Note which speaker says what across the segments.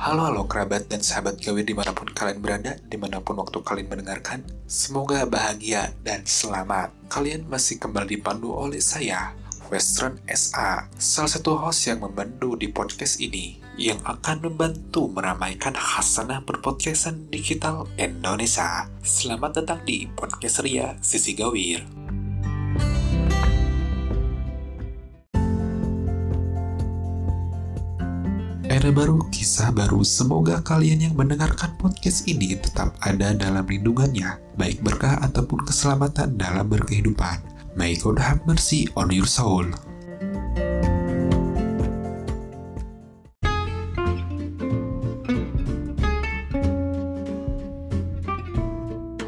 Speaker 1: Halo halo kerabat dan sahabat gawe dimanapun kalian berada, dimanapun waktu kalian mendengarkan, semoga bahagia dan selamat. Kalian masih kembali dipandu oleh saya, Western SA, salah satu host yang membantu di podcast ini, yang akan membantu meramaikan khasanah berpodcastan digital Indonesia. Selamat datang di Podcast Ria Sisi Gawir. Era baru, kisah baru. Semoga kalian yang mendengarkan podcast ini tetap ada dalam lindungannya, baik berkah ataupun keselamatan dalam berkehidupan. May God have mercy on your soul.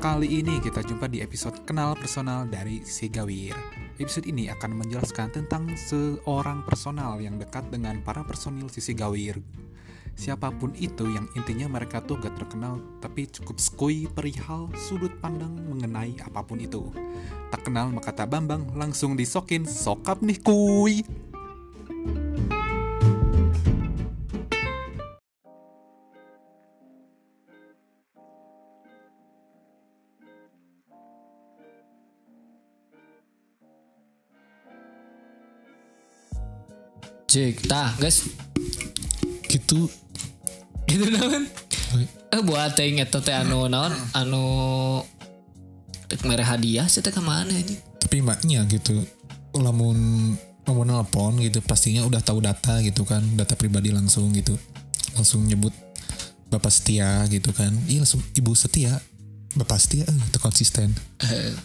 Speaker 1: Kali ini kita jumpa di episode Kenal Personal dari Sigawir. Episode ini akan menjelaskan tentang seorang personal yang dekat dengan para personil sisi gawir. Siapapun itu yang intinya mereka tuh gak terkenal tapi cukup skui perihal sudut pandang mengenai apapun itu. Tak kenal maka tak bambang langsung disokin sokap nih kuy.
Speaker 2: Cek, tah, guys.
Speaker 3: gitu
Speaker 2: Itu naon? Eh buat teh inget teh anu naon? Anu Tek mere hadiah sih teh kemana ini?
Speaker 3: tapi maknya gitu lamun lamun nelpon gitu pastinya udah tahu data gitu kan data pribadi langsung gitu langsung nyebut bapak setia gitu kan iya langsung ibu setia bapak setia eh itu konsisten
Speaker 2: Eh.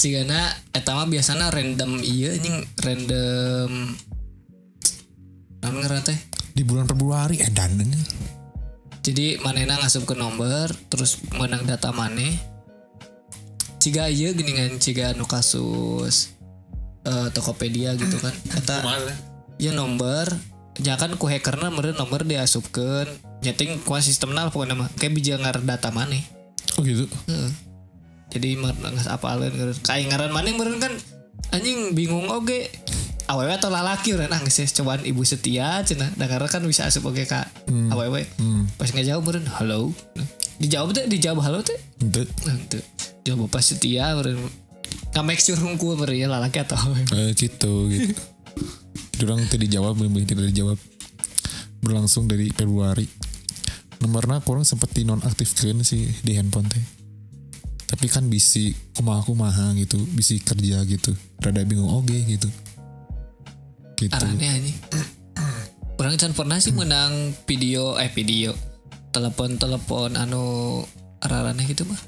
Speaker 2: Cigana eta mah biasana random iya anjing random Naon ngaran teh?
Speaker 3: di bulan Februari eh dananya
Speaker 2: Jadi manehna ngasup ke nomor terus menang data maneh. Ciga ieu geningan ciga anu kasus eh, Tokopedia gitu kan. Eta ya nomor jangan ku hackerna meureun nomor diasupkeun nyeting ku sistemna pokoknya mah kayak bija ngar data maneh
Speaker 3: oh gitu
Speaker 2: Heeh. Hmm. jadi mar ngas apaleun ngeureun kayak ngaran maneh meureun kan anjing bingung oge awewe atau lalaki urang ah geus cobaan ibu setia cenah da karena kan bisa asup oge ka awewe pas ngejawab meureun halo dijawab teh dijawab halo teh
Speaker 3: Ente.
Speaker 2: nanti jawab bapak setia meureun ka make sure hungkul meureun ya lalaki atau awewe
Speaker 3: eh gitu gitu Durang tadi dijawab bener-bener tidak dijawab berlangsung dari Februari Nah, nomornya kurang sempat di nonaktifkan sih di handphone teh tapi kan bisi kumaha kumaha gitu bisi kerja gitu rada bingung oge gitu gitu
Speaker 2: Arane anjing. Orang can pernah sih menang video eh video telepon-telepon anu ararane gitu mah.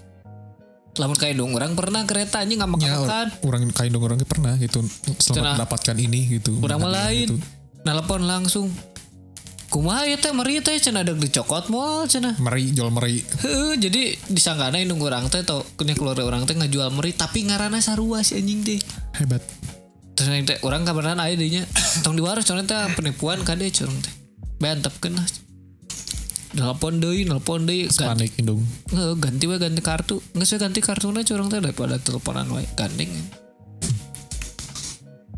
Speaker 2: Lamun kayak dong orang pernah kereta anjing nggak
Speaker 3: ya
Speaker 2: makan.
Speaker 3: orang kain dong orang pernah gitu
Speaker 2: Cenah.
Speaker 3: selamat mendapatkan ini gitu
Speaker 2: Orang mah
Speaker 3: Makanya
Speaker 2: lain.
Speaker 3: gitu.
Speaker 2: Nelpon langsung. Kumaha ya teh meri teh cenah deuk dicokot moal cenah.
Speaker 3: meri jual meri
Speaker 2: Heeh, jadi disangkana indung orang teh tau kena keluar orang teh ngajual meri tapi ngarana sarua si anjing teh.
Speaker 3: hebat
Speaker 2: Terus yang teh orang kabaran aya deh nya. Tong diwaras cenah teh penipuan kade curang teh. Bantep kena. Nelpon deui, nelpon deui. Gan-
Speaker 3: panik dong
Speaker 2: Nggak, ganti we ganti kartu nggak saya ganti kartunya curang teh daripada teleponan we gandeng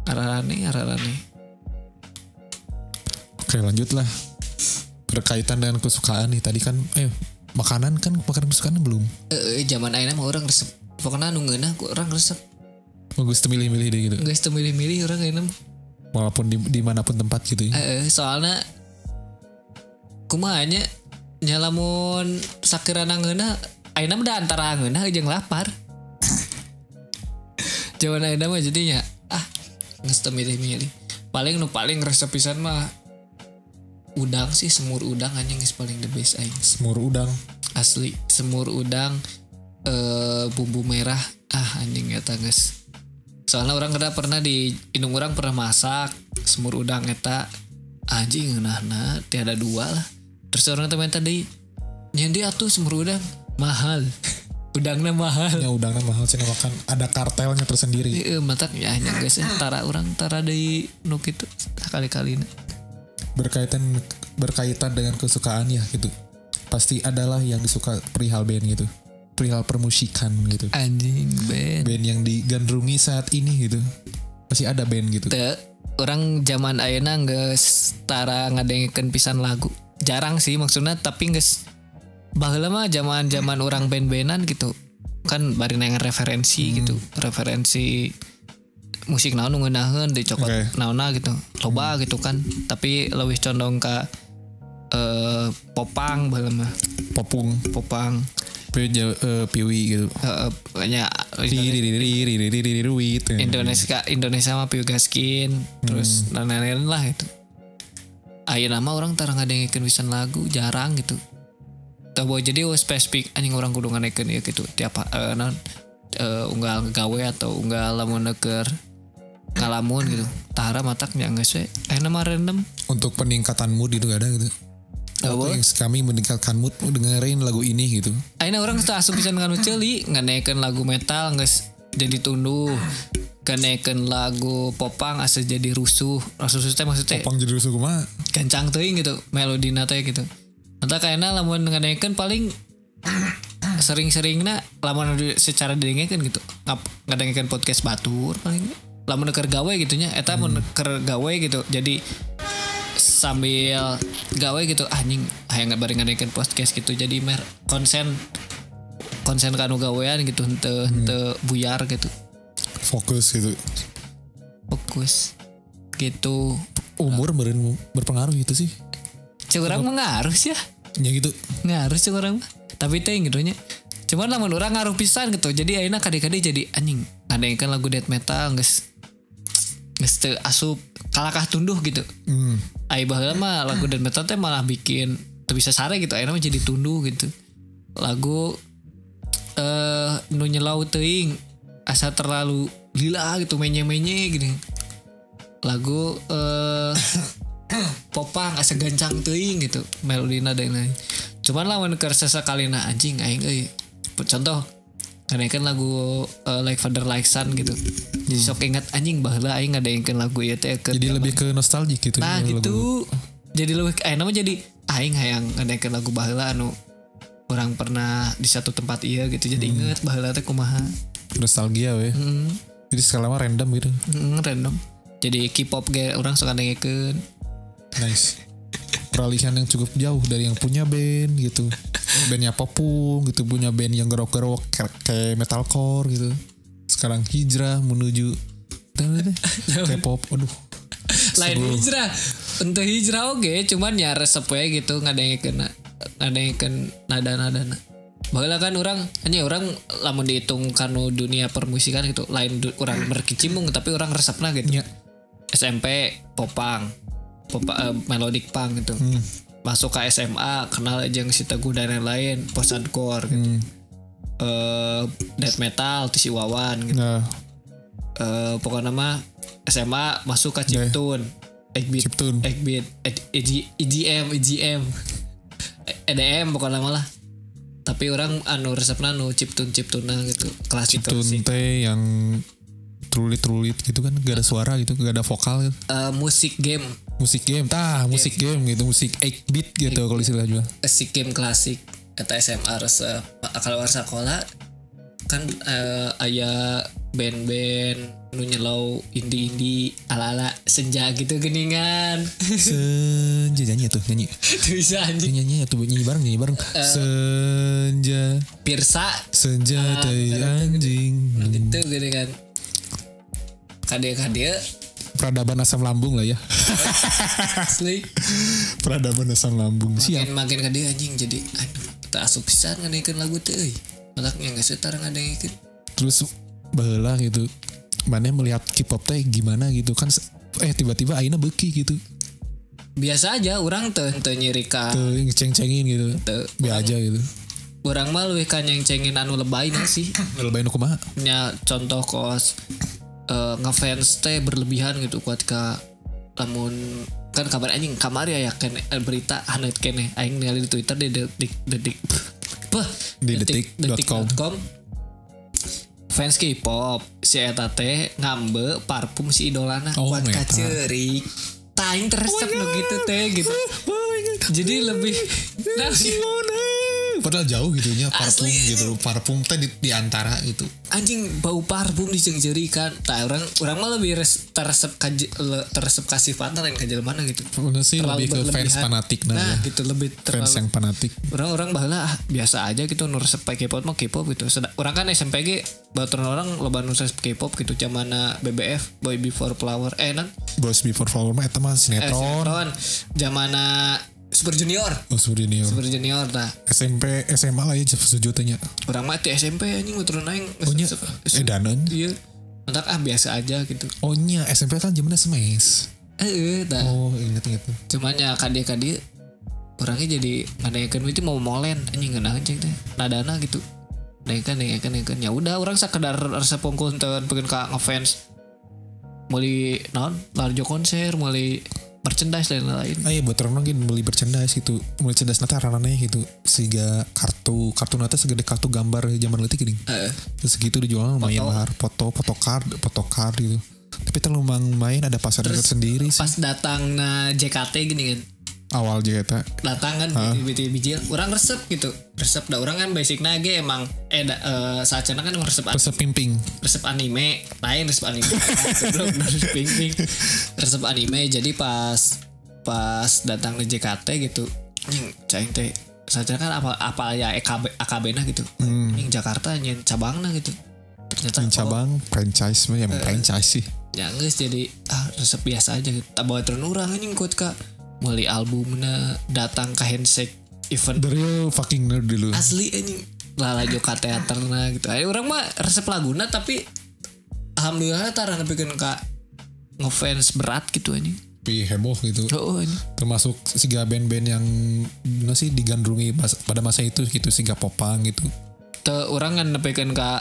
Speaker 2: ararane ararane
Speaker 3: Oke lanjut lah Berkaitan dengan kesukaan nih Tadi kan Eh makanan kan Makanan kesukaan belum
Speaker 2: eh eh, zaman ayeuna mah orang resep pokoknya nu ngeunah ku orang resep
Speaker 3: Bagus tuh milih-milih deh gitu
Speaker 2: geus teu milih-milih orang ayeuna mah.
Speaker 3: Walaupun di, dimanapun tempat gitu ya
Speaker 2: eh eh, soalna kumaha nya nya lamun sakirana ngeunah ayeuna mah da antara ngeunah jeung lapar zaman ayeuna mah jadinya ah geus teu milih-milih paling nu paling resep pisan mah udang sih semur udang anjing geus paling the best aing
Speaker 3: Semur udang
Speaker 2: asli semur udang eh bumbu merah ah anjing eta guys soalnya orang kada pernah di indung orang pernah masak semur udang eta anjing nah nah tiada dua lah terus orang teman tadi nyendi atuh semur udang mahal udangnya mahal
Speaker 3: Ya udangnya mahal sih makan Ada kartelnya tersendiri
Speaker 2: Iya, matak ya hanya guys tara orang tara deui nu kitu kali kali
Speaker 3: Berkaitan Berkaitan dengan kesukaan ya gitu Pasti adalah yang disuka perihal band gitu Perihal permusikan gitu
Speaker 2: anjing ben
Speaker 3: Band yang digandrungi saat ini gitu Pasti ada band gitu
Speaker 2: Te, orang zaman ayeuna geus tara ngadengkeun pisan lagu. jarang sih maksudnya tapi nges baheula mah zaman-zaman orang band-bandan gitu kan bari nengen referensi gitu referensi musik naon nu ngeunaheun di cokot
Speaker 3: Oke.
Speaker 2: naonna gitu loba gitu kan tapi lebih condong ke eh, popang baheula mah
Speaker 3: popung
Speaker 2: popang
Speaker 3: piwi Jawa- eh, piwi gitu
Speaker 2: eh, eh, banyak
Speaker 3: Ririririririririruit.
Speaker 2: Indonesia Indonesia mah Piu Gaskin terus dan lain-lain lah itu ayo nama orang tarang ada yang pisan lagu jarang gitu tahu jadi we spesifik anjing orang kudu nganekeun ieu gitu tiap eh, naon eh, unggal gawe atau unggal lamun neukeur ngalamun gitu tahara mataknya geus we Eh, aya nama random
Speaker 3: untuk peningkatan mood itu ada gitu
Speaker 2: Apa?
Speaker 3: Untuk yang kami meningkatkan mood dengerin lagu ini gitu
Speaker 2: Aina orang tuh asup pisan kanu ceuli nganekeun lagu metal geus jadi tunduh nganekeun lagu popang asa jadi rusuh asa rusuh teh maksudnya
Speaker 3: Pang jadi rusuh mah
Speaker 2: kencang tuh gitu melodina teh gitu entah kayaknya lamun ngenaikeun paling sering-seringnya lamun di- secara didengekeun gitu ngap ngadengekeun podcast batur paling lamun keur gawe gitunya eta mun keur gawe gitu jadi sambil gawe gitu anjing hayang bari ngadengekeun podcast gitu jadi mer konsen konsen kanu gawean gitu henteu henteu buyar gitu
Speaker 3: fokus gitu
Speaker 2: fokus gitu
Speaker 3: umur beren- berpengaruh gitu sih
Speaker 2: Cek urang mah ngaruh sih ya
Speaker 3: ya gitu
Speaker 2: ngaruh sih orang mah. tapi teh gitu nya cuman lamun orang ngaruh pisan gitu jadi akhirnya kadang-kadang jadi anjing ada yang kan lagu death metal guys guys teu asup kalakah tunduh gitu
Speaker 3: hmm.
Speaker 2: Ayo baheula mah lagu death metal teh malah bikin teu bisa sare gitu akhirnya mah jadi tunduh gitu lagu eh nu nyelau teuing asa terlalu lila gitu menye-menye gitu lagu eh popang asa gancang teuing gitu melodina dan lain cuman lawan keur sesakalina anjing aing euy contoh kan lagu eh, like father like son gitu jadi sok ingat anjing baheula aing ngadaengkeun lagu ieu teh keur
Speaker 3: jadi lebih ke nostalgia gitu
Speaker 2: Nah
Speaker 3: ya, lagu.
Speaker 2: gitu Jadi lebih Eh nama jadi Aing hayang ngedekin lagu baheula anu Orang pernah di satu tempat iya gitu Jadi inget baheula teh kumaha
Speaker 3: nostalgia weh
Speaker 2: Mm,
Speaker 3: jadi segala mah random gitu
Speaker 2: mm, Random Jadi K-pop ge orang suka dengekeun
Speaker 3: nice peralihan yang cukup jauh dari yang punya band gitu bandnya popung gitu punya band yang gerok-gerok kayak- kayak metalcore gitu sekarang hijrah menuju K-pop aduh
Speaker 2: Lain hijrah Untuk hijrah oke Cuman ya resep we gitu Ngedengekeun Ngedengekeun nada-nada Baheula kan orang Hanya orang Lamun dihitung Kanu dunia permusikan gitu Lain du- orang berkicimung Tapi orang resepna gitu
Speaker 3: ya
Speaker 2: SMP popang, Popa- eh, melodic punk gitu.
Speaker 3: Hmm.
Speaker 2: Masuk ke SMA kenal aja yang si Teguh dan lain-lain, post hardcore gitu.
Speaker 3: hmm.
Speaker 2: Eh, death metal tuh si Wawan gitu.
Speaker 3: nah
Speaker 2: Eh, pokoknya mah SMA masuk ke Chiptune, Eggbeat,
Speaker 3: Ya, Chiptune.
Speaker 2: Eggbeat, Ed- EG- E EGM, EGM. E, EDM pokoknya malah. Tapi orang anu resepna anu chiptune chiptuna gitu, klasik klasik.
Speaker 3: Chiptune teh yang trulit-trulit gitu kan gak ada suara gitu gak ada vokal gitu.
Speaker 2: Eh, musik game,
Speaker 3: musik game tah musik game gitu musik 8 beat gitu kalau istilah juga
Speaker 2: si game klasik eta SMA resep kalau war sekolah kan eh, aya band-band nu nyelau indie-indie ala-ala senja gitu geningan
Speaker 3: senja nyanyi ya tuh nyanyi
Speaker 2: Tuh bisa anjing
Speaker 3: nyanyi nyanyi tuh nyanyi bareng nyanyi bareng Eh. senja
Speaker 2: pirsa
Speaker 3: senja tai anjing
Speaker 2: gitu geningan kadek-kadek
Speaker 3: peradaban asam lambung lah ya
Speaker 2: asli
Speaker 3: peradaban asam lambung siap
Speaker 2: makin makin kadek anjing jadi aduh kita asup pisan ngadengkeun lagu teh euy mataknya geus setarang ngadengkeun
Speaker 3: terus baheula gitu mana melihat K-pop teh gimana gitu kan se- eh tiba-tiba Aina beki gitu
Speaker 2: biasa aja orang teu teu nyirikan
Speaker 3: tuh ceng-cengin gitu
Speaker 2: Teu.
Speaker 3: be aja gitu
Speaker 2: orang mah leuwih ka nyengcengin anu lebay na sih
Speaker 3: ngelebain kumaha
Speaker 2: nya contoh kos eh, ngefans teh berlebihan gitu kuat ka namun kan kabar anjing kamari ya kene eh, berita hanet kene aing ningali di Twitter di detik detik Puh,
Speaker 3: Di detik.com.
Speaker 2: detik.com fans K-pop si eta teh ngambe parfum si idolana
Speaker 3: Oh,
Speaker 2: kuat
Speaker 3: eta.
Speaker 2: kaceurik Taing
Speaker 3: Oh
Speaker 2: teresep begitu teh gitu. Jadi lebih Nah,
Speaker 3: padahal jauh gitu nya parfum
Speaker 2: Asli, anjing.
Speaker 3: gitu parfum teh di, di antara gitu
Speaker 2: anjing bau parfum dicengjeri kan tak orang orang mah lebih res, teresep ka je- le- teresep ka sifatna lain ka jelema gitu
Speaker 3: Bener sih lebih ke fans
Speaker 2: berlebihan.
Speaker 3: fanatik nah,
Speaker 2: nah
Speaker 3: ya.
Speaker 2: gitu lebih
Speaker 3: fans
Speaker 2: terlalu
Speaker 3: yang fanatik
Speaker 2: orang-orang bahlah ah, biasa aja gitu nu resep pakai K-pop mah K-pop gitu Seda- orang kan SMPG baturan orang loba nu resep K-pop gitu zamana BBF Boy Before Flower eh nan
Speaker 3: Boys Before Flower mah eta mah
Speaker 2: eh,
Speaker 3: sinetron
Speaker 2: sinetron. zamana Super Junior
Speaker 3: oh sudah nih
Speaker 2: Super Junior nah
Speaker 3: SMP SMA lah ya sejutanya
Speaker 2: orang mah teh SMP anjing baturan aing
Speaker 3: ohnya
Speaker 2: resep-
Speaker 3: eh danon
Speaker 2: iya entar ah biasa aja gitu
Speaker 3: ohnya SMP kan zamannya smash
Speaker 2: eh eh tah.
Speaker 3: oh inget inget
Speaker 2: cuman ya kadie kadie orangnya jadi ngadayakan itu mau molen anjing ngeunah ceng teh nadana gitu naikkan naikkan naikkan ya udah orang sekedar resep pungkul teu pengen ka ngefans mulai naon larjo konser mulai merchandise dan lain-lain
Speaker 3: ah iya buat orang mungkin beli merchandise gitu merchandise nanti rananya gitu sehingga kartu kartu nanti segede kartu gambar zaman letik gini
Speaker 2: Heeh.
Speaker 3: terus segitu dijual lumayan
Speaker 2: Foto.
Speaker 3: mahal foto foto card foto card gitu tapi terlalu main ada pasar sendiri sih
Speaker 2: pas datang na JKT gini kan
Speaker 3: awal juga eta.
Speaker 2: datang kan biji biji orang resep gitu resep dah orang kan basic nage emang eh da, eh, saat kan emang resep
Speaker 3: resep pimping
Speaker 2: resep anime lain resep anime Sebelum resep pink-pink. resep anime jadi pas pas datang ke JKT gitu anjing caing teh saya kan apa apa ya AKB AKB nah gitu yang Jakarta yang cabangna gitu ternyata
Speaker 3: Hmm. Yang
Speaker 2: oh, Eh.
Speaker 3: cabang franchise mah yang franchise sih
Speaker 2: ya geus jadi ah resep biasa aja gitu tak bawa orang anjing kuat kak mulai albumnya datang ke handshake event
Speaker 3: the real fucking nerd dulu
Speaker 2: asli anjing lala joka teater nah gitu Ayo orang mah resep laguna tapi alhamdulillah tarana bikin kak ngefans berat gitu anjing
Speaker 3: tapi heboh gitu
Speaker 2: oh anjing
Speaker 3: termasuk siga band-band yang gimana sih digandrungi pas- pada masa itu gitu siga popang gitu
Speaker 2: Teu orang kan nepekeun ka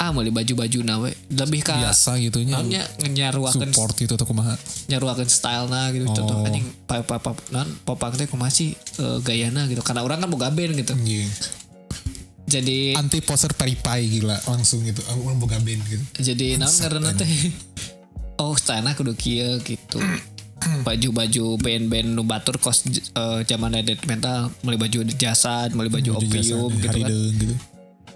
Speaker 2: ah beli baju-baju nawe lebih ka
Speaker 3: biasa gitunya
Speaker 2: naonnya nyaruakeun
Speaker 3: support Oh. gitu atau kumaha
Speaker 2: nyaruakeun style nah gitu contoh anjing pop pop pop non popang teh kumaha sih eh, gayana gitu karena orang kan boga band gitu jadi
Speaker 3: anti poster peripai gila langsung gitu aku orang boga band gitu
Speaker 2: jadi naon karena teh oh stana kudu kieu gitu baju-baju band-band nu batur kos eh, zaman ada death metal mulai baju jasad mulai baju
Speaker 3: Baju jasa,
Speaker 2: opium gitu kan
Speaker 3: harideung gitu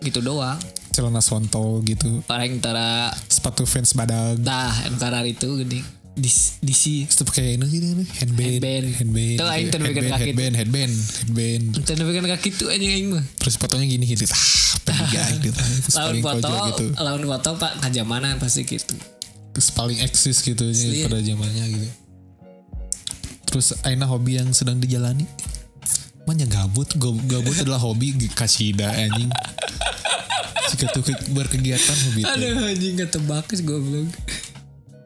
Speaker 2: gitu doang
Speaker 3: celana sontol gitu
Speaker 2: orang antara
Speaker 3: sepatu fans badag
Speaker 2: tah antara anu itu gini di di si
Speaker 3: itu pakai ini gitu ini, handband
Speaker 2: Handband.
Speaker 3: handband
Speaker 2: Tuh, aing
Speaker 3: gitu.
Speaker 2: terbikin
Speaker 3: headband
Speaker 2: kaki.
Speaker 3: headband headband headband
Speaker 2: kan kaki tuh aja aing mah
Speaker 3: terus fotonya gini gitu ah peliga gitu terus
Speaker 2: lawan
Speaker 3: paling
Speaker 2: foto
Speaker 3: kojol gitu
Speaker 2: lawan foto pak kajamanan pasti gitu
Speaker 3: terus paling eksis gitu ya,
Speaker 2: Asli.
Speaker 3: pada zamannya gitu terus Aina hobi yang sedang dijalani Manya gabut Go- Gabut adalah hobi g- Kasida anjing Jika tuh ke- berkegiatan hobi itu
Speaker 2: aduh anjing ketebak sih goblok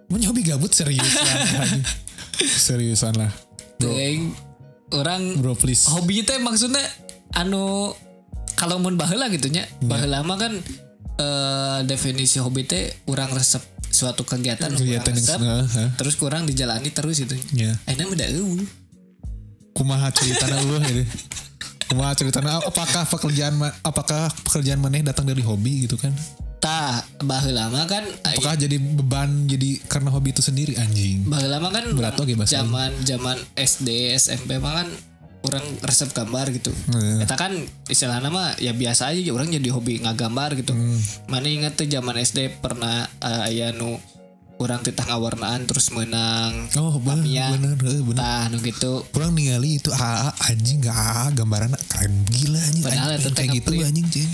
Speaker 3: Manya hobi gabut seriusan anjing. Seriusan lah
Speaker 2: tuh aing orang
Speaker 3: Bro please
Speaker 2: hobi teh maksudnya anu kalau mun baheula gitu nya
Speaker 3: Iya.
Speaker 2: baheula mah kan eh, definisi hobi teh urang resep suatu kegiatan nu
Speaker 3: Kegiatan
Speaker 2: urang
Speaker 3: yang
Speaker 2: resep
Speaker 3: seneng, ha.
Speaker 2: terus kurang dijalani terus gitu itu
Speaker 3: Ya.
Speaker 2: enak beda eueuh.
Speaker 3: Kumaha ceritana lu gitu Kumaha ceritana Apakah pekerjaan ma- Apakah pekerjaan maneh datang dari hobi gitu kan
Speaker 2: tah baheula mah kan
Speaker 3: Apakah jadi beban Jadi karena hobi itu sendiri anjing
Speaker 2: baheula mah kan
Speaker 3: Berat oge bahasa
Speaker 2: zaman zaman SD SMP mah kan orang resep gambar gitu.
Speaker 3: Iya.
Speaker 2: Kita kan istilahnya mah ya biasa aja orang jadi hobi ngagambar gitu. Mana inget tuh zaman SD pernah eh, aya nu orang titah ngawarnaan terus menang.
Speaker 3: Oh bener
Speaker 2: Tamiya.
Speaker 3: Bener eh, bener
Speaker 2: Tah nu gitu
Speaker 3: kurang ningali itu AA anjing gak AA gambaran ah, keren gila anjing
Speaker 2: Padahal
Speaker 3: anjing,
Speaker 2: itu
Speaker 3: kayak
Speaker 2: tengah
Speaker 3: gitu
Speaker 2: print.
Speaker 3: anjing cing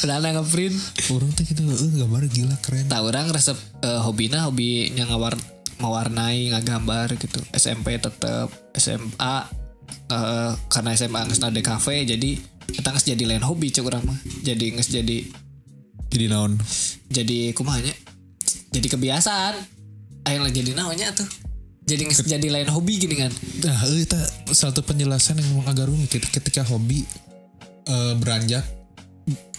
Speaker 2: Padahal yang ngeprint.
Speaker 3: orang tuh gitu eh, gambar gila keren
Speaker 2: Tah orang resep eh, hobina hobi yang ngawar mewarnai ngagambar gitu. SMP tetep SMA eh, karena SMA nggak ada kafe jadi kita nggak jadi lain hobi cek orang mah. Jadi nggak jadi
Speaker 3: jadi naon
Speaker 2: jadi kumanya jadi kebiasaan. Akhirnya jadi naonnya tuh. Jadi nggak jadi lain hobi gini kan.
Speaker 3: nah eh ta, satu penjelasan yang memang agak rumit gitu. ketika hobi eh, beranjak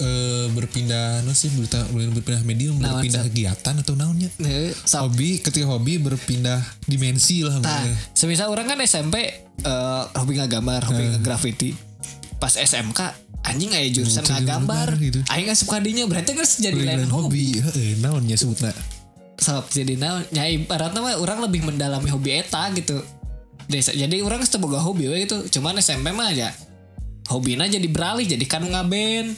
Speaker 3: eh, berpindah no sih berita- berpindah medium
Speaker 2: Naon,
Speaker 3: berpindah
Speaker 2: Sat?
Speaker 3: kegiatan atau naonnya
Speaker 2: Heeh, sok.
Speaker 3: hobi ketika hobi berpindah dimensi lah
Speaker 2: Nah,
Speaker 3: maksudnya.
Speaker 2: semisal orang kan SMP eh, hobi ngagambar, hobi ngegraffiti. Pas SMK anjing aja jurusan
Speaker 3: Jurusan
Speaker 2: ngegambar.
Speaker 3: gambar gitu.
Speaker 2: Aing nggak suka dinya, berarti kan jadi lain
Speaker 3: Lain
Speaker 2: hobi.
Speaker 3: hobi eh, naonnya sebutnya
Speaker 2: Sob, jadi naon nya ibaratna mah orang lebih mendalami hobi eta gitu. Desa- Jadi orang geus teu boga hobi we gitu. Cuman SMP mah aja hobina jadi beralih jadi kanu ngaben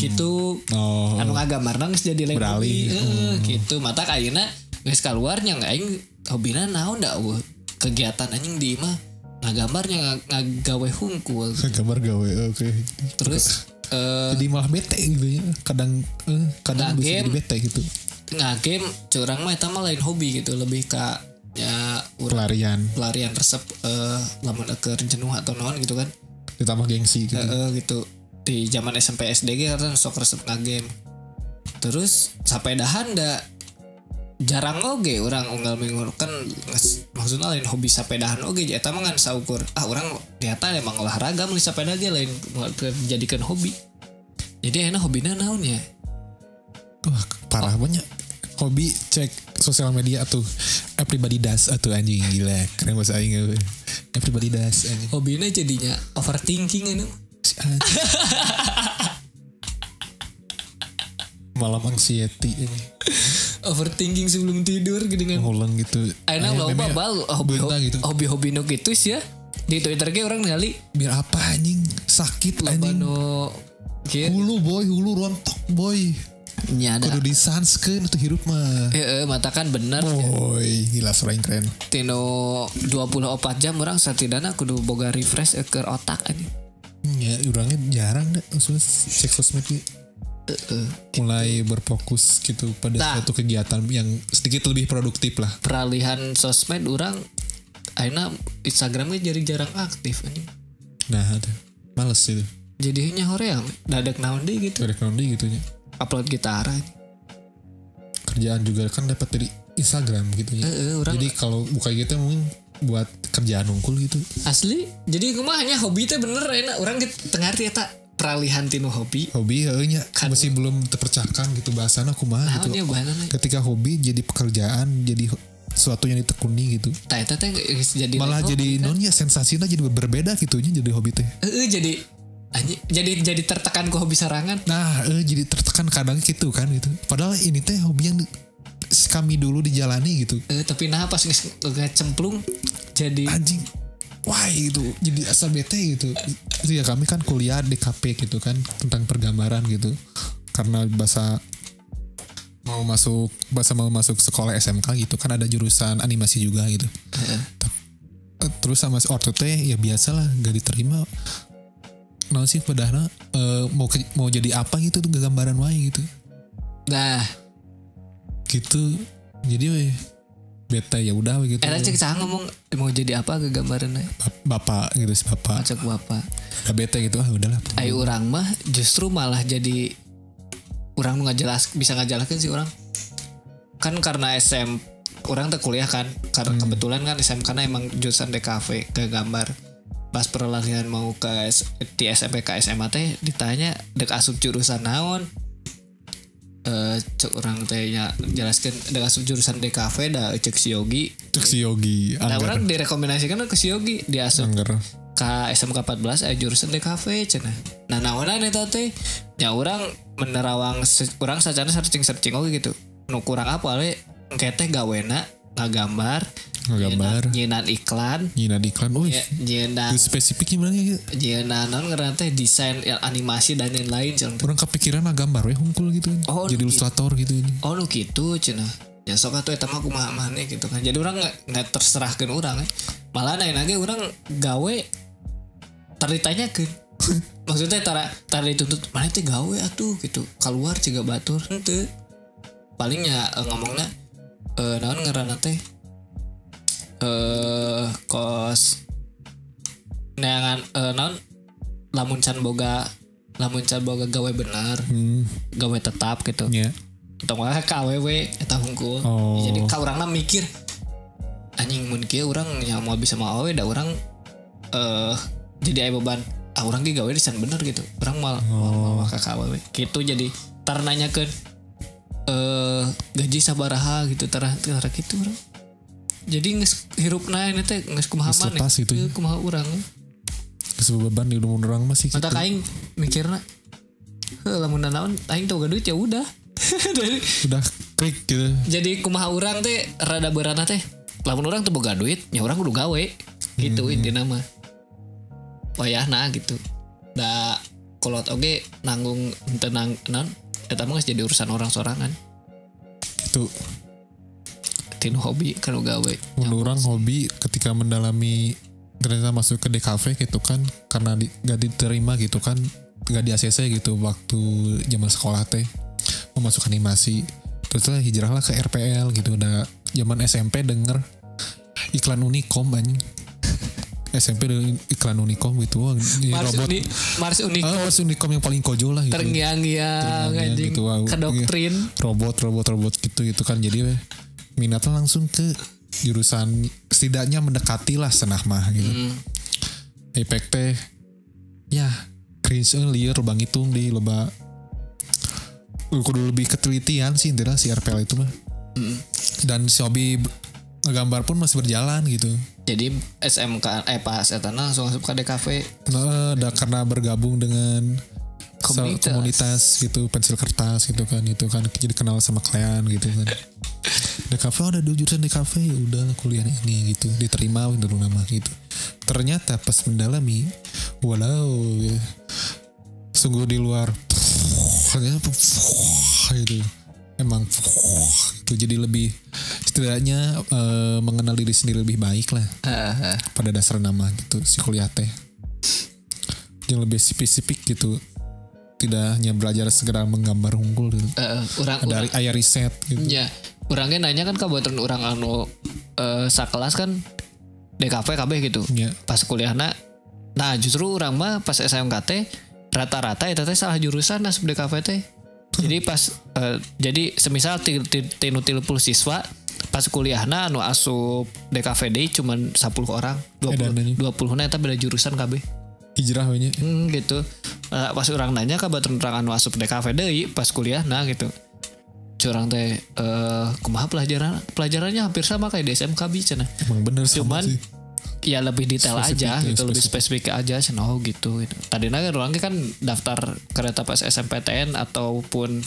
Speaker 2: gitu
Speaker 3: Hmm. Oh.
Speaker 2: anu ngagamarna geus jadi lain
Speaker 3: Beralih. Hmm.
Speaker 2: hobi heeh gitu mata ayeuna geus keluarnya aing hobina naon da eueuh kegiatan anjing di mah ngagambarnya ngagawe hungkul
Speaker 3: gambar gawe eh, oke
Speaker 2: terus eh
Speaker 3: jadi malah bete gitu ya kadang eh,
Speaker 2: Nah,
Speaker 3: kadang bisa jadi
Speaker 2: game.
Speaker 3: bete gitu
Speaker 2: ngagame curang mah eta mah lain hobi gitu lebih ke ya urang
Speaker 3: pelarian
Speaker 2: pelarian resep eh lamun keur jenuh atau naon gitu kan
Speaker 3: ditambah gengsi gitu
Speaker 2: Heeh, gitu di zaman SMP SD ge karena sok resep game terus sampai dahan da jarang oge orang unggal minggu kan nges- maksudnya lain hobi sapedahan oge jadi eta mah ngan saukur ah orang ternyata emang olahraga meuli sapeda ge lain buat ke- dijadikan hobi jadi enak hobina naon ya
Speaker 3: Wah, parah
Speaker 2: Oh.
Speaker 3: banyak hobi cek sosial media tuh everybody does atuh anjing gila keren bahasa aing euy. everybody does anjing
Speaker 2: hobina jadinya overthinking anu
Speaker 3: Si anjing. malam anxiety ini
Speaker 2: overthinking sebelum tidur gitu dengan
Speaker 3: ngulang gitu
Speaker 2: Aina
Speaker 3: Aya meme
Speaker 2: loba bal
Speaker 3: beunta gitu.
Speaker 2: hobi hobi nu gitu sih ya di Twitter ge orang ningali
Speaker 3: biar apa anjing sakit
Speaker 2: loba
Speaker 3: anjing
Speaker 2: nu kieu
Speaker 3: hulu boy hulu rontok boy
Speaker 2: nya ada
Speaker 3: kudu Oh. disanskeun tuh hirup mah
Speaker 2: Heeh, mata kan bener
Speaker 3: boy gila sering keren
Speaker 2: tino 24 jam orang satidana kudu boga refresh ke otak aja
Speaker 3: Hmm, ya orangnya jarang deh maksudnya cek sosmed gitu. mulai berfokus gitu pada
Speaker 2: Nah.
Speaker 3: satu kegiatan yang sedikit lebih produktif lah
Speaker 2: peralihan sosmed orang akhirnya Instagramnya jadi jarang aktif anjing
Speaker 3: nah itu males itu
Speaker 2: jadinya hoream dadak naon deh gitu
Speaker 3: ekonomi gitu ya
Speaker 2: upload gitar aja.
Speaker 3: kerjaan juga kan dapat dari Instagram gitu ya
Speaker 2: Heeh, orang
Speaker 3: jadi kalau buka gitu mungkin buat kerjaan nungkul gitu
Speaker 2: asli jadi kumahnya hobi teh bener enak orang ge tengah eta peralihan tino hobi
Speaker 3: hobi heunya
Speaker 2: Kan- Nah,
Speaker 3: masih belum terpecahkan gitu bahasan aku mah gitu
Speaker 2: naonnya ya bahanana
Speaker 3: ketika hobi jadi pekerjaan jadi ho- sesuatu yang ditekuni gitu
Speaker 2: Tah eta teh geus jadi
Speaker 3: malah
Speaker 2: lain
Speaker 3: jadi nonnya sensasinya jadi berbeda gitunya jadi hobi teh
Speaker 2: hobi. Heeh, jadi anjing, jadi jadi tertekan ke hobi sarangan
Speaker 3: Nah, eh, jadi tertekan kadang gitu kan gitu. Padahal ini teh hobi yang di- kami dulu dijalani gitu.
Speaker 2: Eh, tapi nah pas geus geus cemplung jadi
Speaker 3: Anjing. Wah gitu, jadi asal bete gitu. Itu ya kami kan kuliah DKP gitu kan tentang pergambaran gitu. Karena bahasa mau masuk bahasa mau masuk sekolah SMK gitu kan ada jurusan animasi juga gitu. Tep- eh, Terus sama si ortu teh ya biasalah gak diterima. Nah sih padahal eh, mau ke- mau jadi apa gitu tuh gambaran wae gitu.
Speaker 2: nah
Speaker 3: gitu jadi weh beta ya udah weh gitu
Speaker 2: Era cek cah ngomong mau jadi apa eh? ke gambarannya
Speaker 3: Bap- bapak gitu si bapak
Speaker 2: Cek bapak
Speaker 3: nah, beta gitu ah udahlah
Speaker 2: Ayo orang mah justru malah jadi Orang nu ngajelas bisa ngajelaskan sih orang Kan karena SM Orang teh kuliah kan Karena kebetulan kan SM karena emang jurusan DKV Ke gambar Pas peralihan mau ke S- di SMP ke SMA teh Ditanya dek asup jurusan naon Eh, cek orang tehnya jelaskan dek asup jurusan DKV dah cek si Yogi
Speaker 3: cek si Yogi
Speaker 2: Nah
Speaker 3: anggar
Speaker 2: orang direkomendasikan ke si Yogi Di asup
Speaker 3: anggar
Speaker 2: ka SMK 14 aya eh, jurusan DKV cenah. Nah naonan eta teh nya urang menerawang se- urang sacana searching-searching oge gitu. Nu kurang apa we engke teh gawena ngagambar, Iya,
Speaker 3: Ngagambar.
Speaker 2: nyinan, nyinan iklan,
Speaker 3: nyina di iklan wih
Speaker 2: ya, nyinan
Speaker 3: Lu spesifik gimana ya
Speaker 2: nyinan naon ngaranna teh desain ya, animasi dan lain-lain cenah.
Speaker 3: orang kepikiran lah gambar weh hungkul gitu kan
Speaker 2: Oh, gitu.
Speaker 3: jadi ilustrator gitu ini
Speaker 2: Oh nu gitu cenah. Ya sok atuh eta mah kumaha maneh gitu kan. Jadi urang nggak- nggak terserahkeun urang. eh. Malah nain lagi urang gawe terditanyakeun. Maksudnya tara tara dituntut mana teh gawe atuh gitu. Keluar juga batur henteu. Palingnya ngomongnya eh naon ngaranna teh eh kos neangan eh naon lamun can boga lamun can boga gawe bener
Speaker 3: hmm
Speaker 2: gawe tetap gitu
Speaker 3: ya
Speaker 2: Untung wae KWW eta hungkul.
Speaker 3: Oh.
Speaker 2: Jadi ka urangna mikir anjing mun kieu urang nya mau bisa mau awe da urang eh jadi aya beban. Ah urang ge gawe desain bener gitu. Urang mal oh. ka KWW. Gitu jadi tar nanyakeun eh gaji sabaraha gitu tar tar gitu urang. Jadi geus hirupna ini teh geus kumaha
Speaker 3: Geus
Speaker 2: maneh.
Speaker 3: lepas gitu
Speaker 2: Teu
Speaker 3: ya.
Speaker 2: Kumaha urang.
Speaker 3: sebuah beban di rumah orang masih gitu
Speaker 2: Mata aing mikirna heuh lamun naon aing tau duit ya udah. Dari
Speaker 3: udah klik gitu
Speaker 2: jadi kumaha orang teh rada berana teh lamun orang tuh
Speaker 3: Hmm.
Speaker 2: boga duit ya orang kudu gawe gitu intinya mah wayahna gitu da kolot oge nanggung tenang non eta mah geus jadi urusan orang sorangan
Speaker 3: itu
Speaker 2: tinu hobi kalau gawe
Speaker 3: menurut orang hobi ketika mendalami ternyata masuk ke DKV gitu kan karena di, gak diterima gitu kan gak di ACC gitu waktu zaman sekolah teh memasuk animasi terus lah hijrahlah ke RPL gitu udah zaman SMP denger iklan Unicom anjing SMP denger iklan Unicom gitu wah ini
Speaker 2: Mars
Speaker 3: robot
Speaker 2: Uni Mars Uni
Speaker 3: Ah, Mars Unicom yang paling kojol lah gitu
Speaker 2: terngiang-ngiang
Speaker 3: Terngiang-ngiang
Speaker 2: anjing
Speaker 3: gitu, wow.
Speaker 2: ke doktrin
Speaker 3: robot robot robot gitu gitu kan jadi minatnya langsung ke jurusan setidaknya mendekati lah senah mah gitu Ipek teh ya cringe eh, liar lubang hitung di loba kudu lebih ketelitian sih intinya si RPL itu mah dan si hobi b- ngegambar pun masih berjalan gitu
Speaker 2: jadi SMK eh pas eta na langsung masuk ke DKV
Speaker 3: nah, ada karena bergabung dengan sel-
Speaker 2: Komunitas.
Speaker 3: komunitas gitu pensil kertas gitu kan itu kan jadi kenal sama kalian gitu kan di kafe oh, ada dua jurusan di kafe ya udah kuliah ini gitu diterima dulu nama gitu ternyata pas mendalami walau ya, sungguh di luar ternyata gitu emang itu jadi lebih setidaknya eh, mengenal diri sendiri lebih baik lah
Speaker 2: Heeh.
Speaker 3: pada dasar nama gitu si kuliah teh yang lebih spesifik gitu tidak hanya belajar segera menggambar unggul gitu.
Speaker 2: Heeh, orang
Speaker 3: dari
Speaker 2: orang-
Speaker 3: ayah riset gitu
Speaker 2: ya orangnya nanya kan kabuatan orang anu eh, sakelas kan DKV KB gitu
Speaker 3: ya
Speaker 2: pas kuliahna nah justru orang mah pas SMK teh rata-rata eta teh salah jurusan asup DKV teh jadi pas eh, jadi semisal ti- ti- tinu tilu puluh siswa pas kuliahna anu asup DKV deui cuman 10 orang 20
Speaker 3: Edananya.
Speaker 2: 20 na eta beda jurusan kabeh
Speaker 3: hijrah banyak
Speaker 2: Hmm, gitu. Eh, pas orang nanya ka batur orang anu asup DKV deui pas kuliah nah gitu. Curang teh eh kumaha pelajaran pelajarannya hampir sama kayak di SMK bi cenah.
Speaker 3: emang bener sama
Speaker 2: Cuman
Speaker 3: sih
Speaker 2: ya lebih detail
Speaker 3: Spesifik
Speaker 2: aja
Speaker 3: ya,
Speaker 2: gitu, lebih spesifik aja cenah oh, gitu, gitu. Tadi kan orang kan daftar kereta pas SMPTN ataupun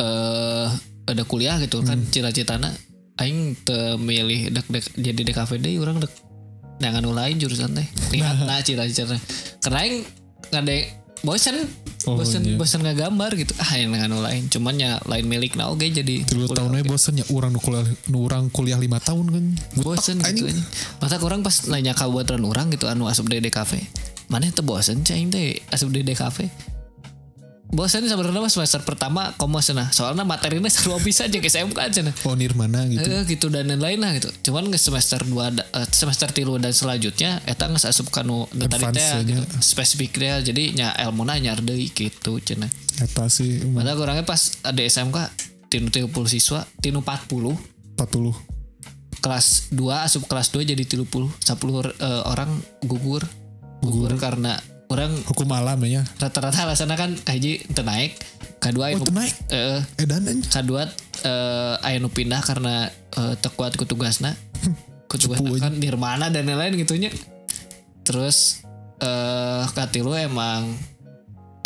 Speaker 2: eh ada kuliah gitu kan
Speaker 3: Hmm.
Speaker 2: cita-citana aing teu milih dek dek jadi DKV deui urang dek nah anu lain jurusan teh lihat nah cita-citana karena aing ngade bosen
Speaker 3: Oh,
Speaker 2: bosen
Speaker 3: iya.
Speaker 2: bosen ngegambar gitu ah aing anu lain cuman ya lain milik nah oke jadi
Speaker 3: Tilu
Speaker 2: kuliah
Speaker 3: tahunnya bosan ya orang nu kuliah nu orang kuliah lima tahun kan
Speaker 2: bosen gitu aja. Masa kurang pas nanya kabuatan orang gitu anu asup di DKV. Mana teu bosen cing teh asup di DKV. Bosen sebenarnya pas semester pertama komo cenah. Soalnya materinya seru bisa aja ke SMK cenah.
Speaker 3: oh nirmana gitu
Speaker 2: Eh, gitu dan lain-lain lah gitu. Cuman nge semester 2 semester 3 dan selanjutnya eta geus asup kanu tadi
Speaker 3: Advance ya,
Speaker 2: teh
Speaker 3: aja.
Speaker 2: gitu. Spesifik dia jadi nya elmuna nyar deui gitu cenah.
Speaker 3: eta sih emang
Speaker 2: Padahal kurangnya pas ada SMK tinu 30 siswa, tinu 40
Speaker 3: empat puluh
Speaker 2: kelas 2 asup kelas 2 jadi 30 10 eh, orang gugur gugur karena orang
Speaker 3: hukum alam ya
Speaker 2: rata-rata alasannya kan haji teu naik kedua
Speaker 3: oh
Speaker 2: anu-
Speaker 3: tenaik
Speaker 2: eh,
Speaker 3: edan anjing.
Speaker 2: kedua eh, aya nu pindah karena eh, teu kuat ku tugasna ku tugasna
Speaker 3: Cepu
Speaker 2: kan nirmana dan lain-lain gitunya terus eh katilu emang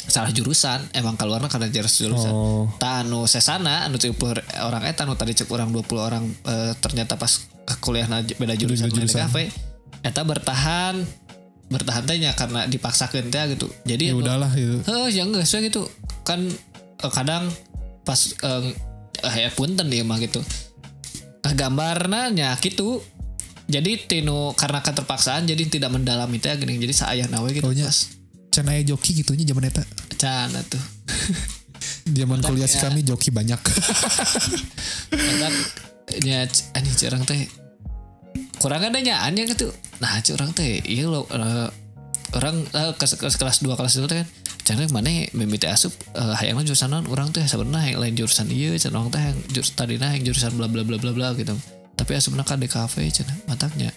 Speaker 2: salah jurusan emang keluarnya karena jelas jurusan
Speaker 3: oh
Speaker 2: Tanu sesana anu 70 orang eta anu tadi cek orang 20 orang eh, ternyata pas kuliah beda jurusan
Speaker 3: Beda
Speaker 2: beda
Speaker 3: jurusan.
Speaker 2: kafe eta bertahan bertahan teh nya karena dipaksakeun teh gitu. Jadi
Speaker 3: ya
Speaker 2: anu-
Speaker 3: udahlah gitu
Speaker 2: Heuh, ya enggak sih gitu. Kan eh, kadang pas eh eh, punten ya mah gitu. Gambarnya nya gitu. Jadi tinu karena keterpaksaan jadi tidak mendalami teh gini. Jadi saayah nawe gitu.
Speaker 3: Oh, nya.
Speaker 2: pas.
Speaker 3: can aya joki gitunya zaman eta
Speaker 2: Can atuh.
Speaker 3: zaman kuliah si
Speaker 2: ya.
Speaker 3: kami joki banyak
Speaker 2: Kadang ya, nya anjing curang teh kurang ada nyaan yang gitu nah curang teh iya lo eh, orang eh, kelas kelas kelas dua kelas itu teh kan Jangan mana mimiti asup eh, hayangna jurusan non orang teh sebenarnya yang lain jurusan iya can orang teh yang jurusan tadina yang jurusan bla bla bla bla bla gitu tapi asupna ka di kafe cenah mataknya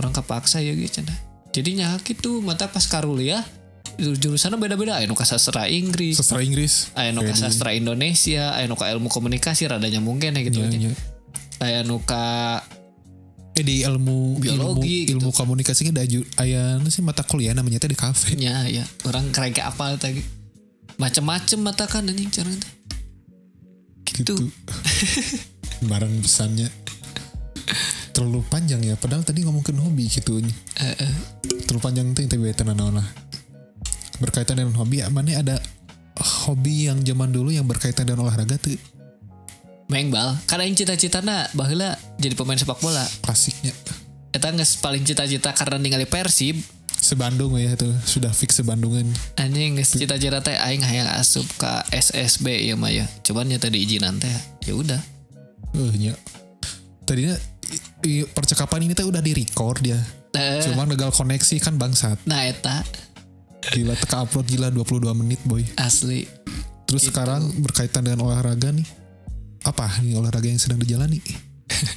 Speaker 2: orang kepaksa ya gitu cenah jadinya gitu mata pas karuliah jurusannya beda-beda aya nu ka sastra Inggris
Speaker 3: sastra Inggris
Speaker 2: aya nu ka
Speaker 3: Kayak di-
Speaker 2: Ah, ya, sastra Indonesia aya nu ka ilmu komunikasi radanya mungkin ya gitu
Speaker 3: Iya,
Speaker 2: aja.
Speaker 3: iya.
Speaker 2: aya nu ka
Speaker 3: Eh, di ilmu
Speaker 2: Biologi, gitu.
Speaker 3: ilmu, ilmu komunikasinya ada ju- aya nu sih mata kuliah namanya teh di kafe
Speaker 2: nya ya orang keren ke apa tadi macem-macem mata kan anjing cara itu
Speaker 3: gitu. Barang pesannya. terlalu panjang ya padahal tadi ngomongin hobi gitu
Speaker 2: Eh, eh.
Speaker 3: terlalu panjang tuh tapi tenanawan lah nah. berkaitan dengan hobi ya, mana ada hobi yang zaman dulu yang berkaitan dengan olahraga tuh
Speaker 2: Maeng bal karena yang cita-citana baheula jadi pemain sepak bola
Speaker 3: klasiknya
Speaker 2: eta geus paling cita-cita karena ningali Persib
Speaker 3: sebandung ya itu sudah fix sebandungan
Speaker 2: anjing geus cita-cita teh aing hayang asup ka SSB ya mah ya cuman nya tadi izinan teh ya udah
Speaker 3: eh nya tadinya i- i- percakapan ini tuh udah di record ya
Speaker 2: Eh,
Speaker 3: cuma gagal koneksi kan bangsat
Speaker 2: nah eta
Speaker 3: gila teka upload gila 22 menit boy
Speaker 2: asli Gitu.
Speaker 3: terus sekarang berkaitan dengan olahraga nih apa nih olahraga yang sedang dijalani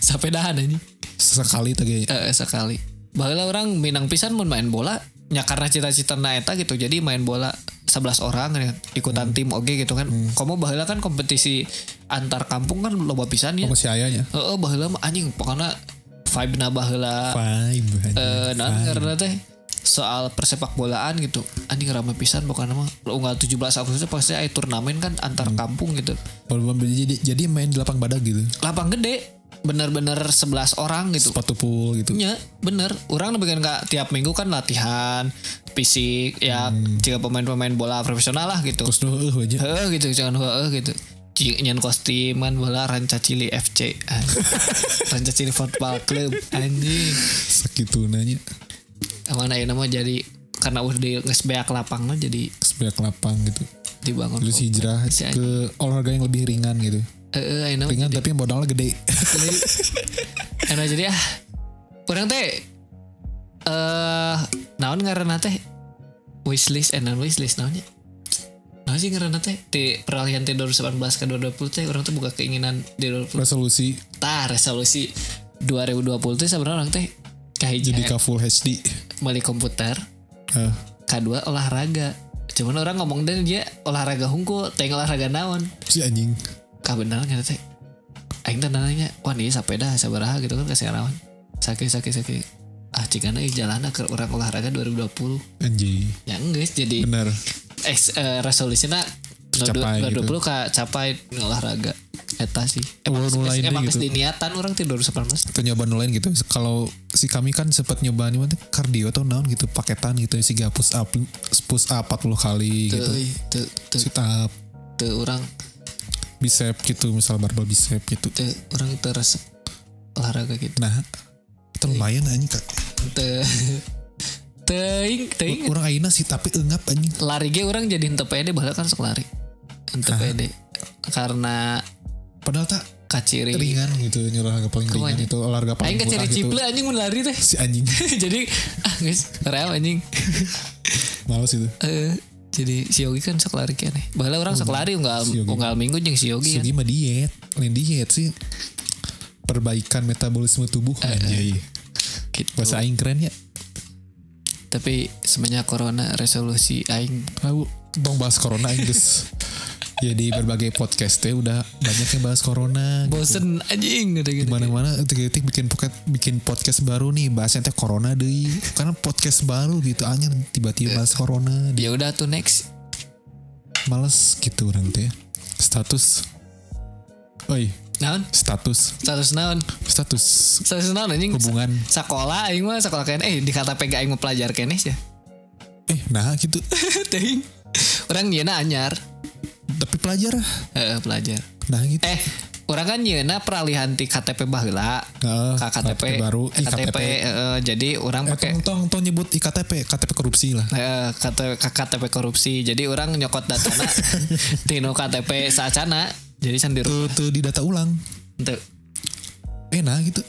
Speaker 2: sapedahan anjing
Speaker 3: sekali tadi
Speaker 2: Eh, sekali. Baheula orang Minang pisan mun main bola nya karena cita-cita na eta gitu. Jadi main bola 11 orang ya,
Speaker 3: Hmm.
Speaker 2: ikutan tim oge gitu kan. Komo baheula kan kompetisi antar kampung kan loba pisan ya.
Speaker 3: sama si ayahnya
Speaker 2: Heeh, baheula mah anjing pokoknya vibe na baheula
Speaker 3: vibe anjing.
Speaker 2: Ah. eh naon
Speaker 3: Vibe.
Speaker 2: karena teh soal persepak bolaan gitu anjing rame pisan pokoknya mah unggal 17 Agustus pasti aya turnamen kan antar
Speaker 3: Hmm.
Speaker 2: kampung gitu
Speaker 3: Kalau belum jadi, jadi main di lapang badak gitu
Speaker 2: lapang gede bener-bener 11 orang gitu
Speaker 3: sepatu pool gitu
Speaker 2: Ya bener Orang bikin kak tiap minggu kan latihan Fisik ya
Speaker 3: Hmm.
Speaker 2: Jika pemain-pemain bola profesional lah gitu
Speaker 3: terus doh eh aja
Speaker 2: Heeh gitu Jangan heeh gitu Ci- Nyan kostiman bola Ranca Cili FC anjing. Ranca Cili Football Club Anjing
Speaker 3: segitu nanya
Speaker 2: Mana ya nama jadi Karena udah di ngesbeak lapang lah Jadi
Speaker 3: sebelah lapang gitu
Speaker 2: dibangun
Speaker 3: terus hijrah
Speaker 2: Oh, Si anjing.
Speaker 3: ke olahraga yang lebih ringan gitu
Speaker 2: Heeh ayeuna mah
Speaker 3: ringan tapi modalnya gede
Speaker 2: jadi karena jadi ah orang teh eh naon ngaranna teh wishlist and non wishlist naonnya naon sih ngaranna teh di peralihan teh 2018 ke 2020 teh orang teh buka keinginan di 2020
Speaker 3: resolusi
Speaker 2: tah resolusi 2020 teh sebenarnya orang teh kahiji
Speaker 3: jadi ke full HD
Speaker 2: beli komputer
Speaker 3: Eh,
Speaker 2: kedua olahraga cuman orang ngomong dan dia olahraga hungkul teh olahraga naon
Speaker 3: si anjing
Speaker 2: kah bener nggak teh aing teh nanya wah nih sepeda sabaraha gitu kan kasih rawan sakit sakit sakit ah cikana ieu jalan ke orang olahraga 2020
Speaker 3: anjing
Speaker 2: ya enggak jadi
Speaker 3: benar
Speaker 2: ex eh, resolusinya
Speaker 3: Tercapai gitu.
Speaker 2: 2020 ka capai olahraga eta sih emang geus-
Speaker 3: Oh, nulain
Speaker 2: emang
Speaker 3: deh
Speaker 2: geus
Speaker 3: gitu.
Speaker 2: diniatan orang ti 2018
Speaker 3: itu nyoba nulain gitu kalau si kami kan sempat nyoba nih mah, kardio atau naon gitu paketan gitu si push up push up 40 kali
Speaker 2: tuh
Speaker 3: gitu
Speaker 2: tuh tuh
Speaker 3: sit up
Speaker 2: tuh orang
Speaker 3: bicep gitu misal barbel bicep gitu
Speaker 2: tuh orang terus olahraga gitu
Speaker 3: nah itu lumayan anjing kak
Speaker 2: teu teuing teuing
Speaker 3: orang aina sih tapi engap anjing
Speaker 2: lari ge orang jadi henteu pede bahkan kan sok lari henteu
Speaker 3: Hah?
Speaker 2: pede karena
Speaker 3: padahal tak
Speaker 2: kaciri
Speaker 3: ringan gitu ini olahraga paling
Speaker 2: Kemana?
Speaker 3: ringan itu olahraga paling
Speaker 2: Iya. aing kan
Speaker 3: murah
Speaker 2: kaciri
Speaker 3: gitu
Speaker 2: ciple anjing mun lari teh
Speaker 3: si anjing
Speaker 2: jadi ah guys rel anjing
Speaker 3: males itu
Speaker 2: Eh, jadi si Yogi kan sok lari kene bahala orang sok lari unggal
Speaker 3: si Yogi.
Speaker 2: unggal minggu jeung si Yogi
Speaker 3: si
Speaker 2: kan
Speaker 3: mah diet lain diet sih perbaikan metabolisme tubuh anjay
Speaker 2: Gitu.
Speaker 3: bahasa aing keren ya
Speaker 2: tapi semenjak corona resolusi aing
Speaker 3: Aku dong bahas corona Inggris. ya di berbagai podcast teh udah banyak yang bahas corona.
Speaker 2: bosen anjing gitu gitu
Speaker 3: Mana mana titik bikin pocket bikin podcast baru nih bahasnya teh corona deh. Karena podcast baru gitu anjir tiba-tiba bahas corona di
Speaker 2: ya udah tuh next
Speaker 3: males gitu orang teh. Status Oi,
Speaker 2: naon
Speaker 3: status
Speaker 2: status naon
Speaker 3: status
Speaker 2: status naon anjing
Speaker 3: hubungan
Speaker 2: sekolah aing mah sekolah kene eh di kata pega aing mah pelajar kene sih
Speaker 3: eh nah gitu
Speaker 2: Teuing. Orang nyeuna anyar.
Speaker 3: tapi pelajar
Speaker 2: Heeh, pelajar.
Speaker 3: nah gitu
Speaker 2: Eh, orang kan nyeuna peralihan ti KTP baheula.
Speaker 3: Heeh,
Speaker 2: Ka KTP,
Speaker 3: KTP baru,
Speaker 2: KTP,
Speaker 3: iktp
Speaker 2: heeh, jadi orang
Speaker 3: eh
Speaker 2: pakai
Speaker 3: tong, tong, tong nyebut iktp ktp korupsi lah
Speaker 2: eh, KTP, ka- KTP korupsi. Jadi orang nyokot datana tinu KTP saacana. Jadi sendiri
Speaker 3: tuh tuh di data ulang
Speaker 2: untuk
Speaker 3: eh nah gitu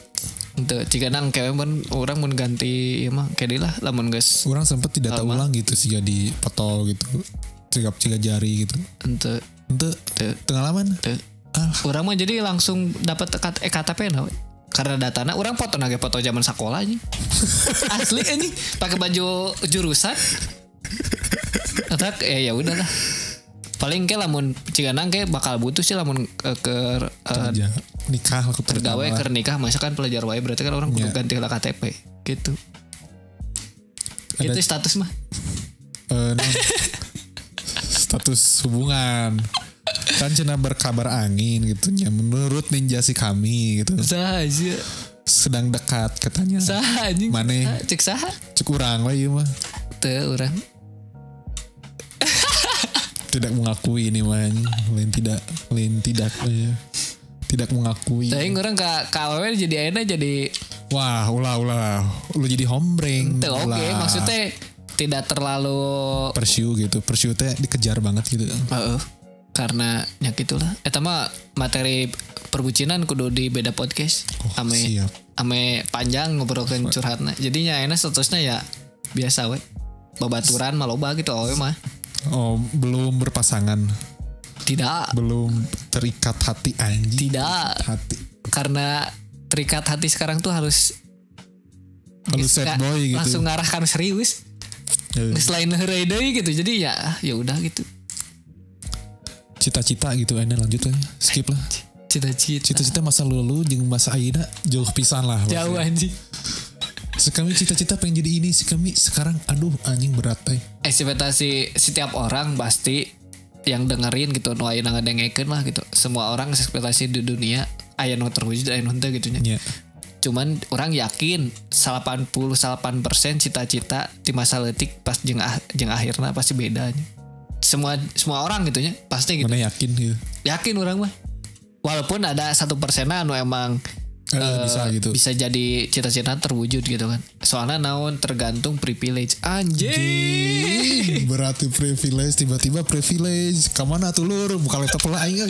Speaker 2: untuk jika nang kewe mun orang mun ganti ieu mah kedi lah lamun geus
Speaker 3: orang sempet tidak tahu ulang gitu sih jadi potol gitu cegap cegap jari gitu
Speaker 2: untuk
Speaker 3: untuk tengah laman ah
Speaker 2: orang mah jadi langsung dapat kat- eh, KTP nah we. karena datana orang foto nage foto zaman sekolah anjing asli anjing pakai baju jurusan Atak ya ya udahlah paling ke lamun ciganang ke bakal butuh sih lamun ke, ke eh,
Speaker 3: aja nikah aku
Speaker 2: gawe
Speaker 3: terutama
Speaker 2: ke
Speaker 3: lah.
Speaker 2: nikah masa kan pelajar wae berarti kan orang kudu
Speaker 3: Iya.
Speaker 2: ganti lah KTP gitu
Speaker 3: Ada-
Speaker 2: itu status mah
Speaker 3: Eh, non. status hubungan kan cina berkabar angin gitu ya menurut ninja si kami gitu
Speaker 2: Zah, aja
Speaker 3: sedang dekat katanya
Speaker 2: saha anjing
Speaker 3: Mane.
Speaker 2: Saha, cek saha
Speaker 3: cukup kurang lah iya mah
Speaker 2: teu urang
Speaker 3: tidak mengakui ini man lain tidak lain tidak ya. tidak mengakui
Speaker 2: teuing urang ka ka awewe jadi ayeuna jadi
Speaker 3: wah ulah ulah lu jadi hombreng
Speaker 2: teu oke
Speaker 3: ulah.
Speaker 2: maksudnya tidak terlalu
Speaker 3: pursue gitu pursue teh dikejar banget gitu
Speaker 2: Heeh. karena ya gitulah eta mah materi perbucinan kudu di beda podcast
Speaker 3: Oh,
Speaker 2: ame
Speaker 3: siap.
Speaker 2: ame panjang ngobrolkeun curhatna jadinya enak statusnya ya biasa we babaturan mah loba gitu awewe mah
Speaker 3: oh belum berpasangan
Speaker 2: tidak
Speaker 3: belum terikat hati anjing
Speaker 2: tidak
Speaker 3: hati
Speaker 2: karena terikat hati sekarang tuh harus
Speaker 3: kalau sad
Speaker 2: nggak-
Speaker 3: boy gitu
Speaker 2: langsung ngarahkan serius
Speaker 3: Eh,
Speaker 2: Nggak selain heureuy deui gitu jadi ya ah, ya udah gitu
Speaker 3: cita-cita gitu ini lanjut aja skip lah
Speaker 2: cita-cita
Speaker 3: cita-cita masa lulu jeung masa aida jauh pisan lah
Speaker 2: jauh anjing
Speaker 3: sekami cita-cita pengen jadi ini sekami sekarang aduh anjing berat teh
Speaker 2: ekspektasi setiap orang pasti yang dengerin gitu nu aya ngadengekeun lah gitu semua orang ekspektasi di dunia aya nu terwujud aya nu henteu gitu nya.
Speaker 3: ya
Speaker 2: cuman orang yakin 88% cita-cita di masa letik pas jeung ah- jeung akhirna pasti bedanya semua semua orang gitu nya pasti gitu
Speaker 3: mana yakin ya
Speaker 2: yakin orang mah walaupun ada satu persenan anu emang
Speaker 3: Eh, bisa gitu
Speaker 2: bisa jadi cita-cita terwujud gitu kan soalnya naon tergantung privilege anjing
Speaker 3: Ih, berarti privilege tiba-tiba privilege kemana tuh lur buka laptop lah aing eh.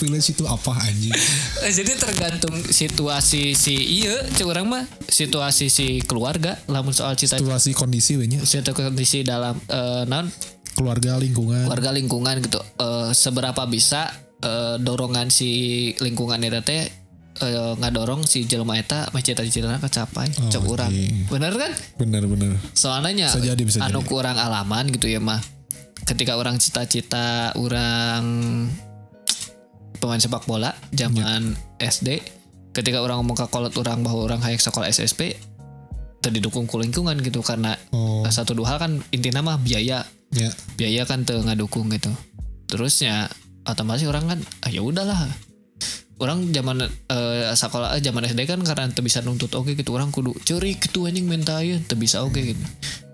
Speaker 3: privilege itu apa anjing
Speaker 2: Eh, jadi tergantung situasi si iya cek orang mah situasi si keluarga lamun soal cita-cita
Speaker 3: situasi kondisi we nya
Speaker 2: cita kondisi dalam eh, naon
Speaker 3: keluarga lingkungan
Speaker 2: warga lingkungan gitu Eh, seberapa bisa eh, dorongan si lingkungan eta teh eh, ngadorong si jelma eta mah cita-citana kecapai
Speaker 3: Oh,
Speaker 2: cek urang
Speaker 3: iya.
Speaker 2: bener kan
Speaker 3: bener-bener
Speaker 2: soalnya
Speaker 3: Bisa jadi, bisa
Speaker 2: anu
Speaker 3: jadi.
Speaker 2: kurang alaman gitu ya mah ketika orang cita-cita orang pemain sepak bola zaman
Speaker 3: Iya.
Speaker 2: SD ketika orang ngomong ke kolot orang bahwa orang hayang sekolah SSP tadi dukung ku lingkungan gitu karena
Speaker 3: oh
Speaker 2: satu dua hal kan intinya mah biaya
Speaker 3: ya
Speaker 2: biaya kan teu ngadukung gitu terusnya otomatis orang kan ah, ya udahlah orang zaman eh, sekolah eh, zaman SD kan karena teu bisa nuntut oke gitu orang kudu curi gitu anjing minta aja teu bisa oke gitu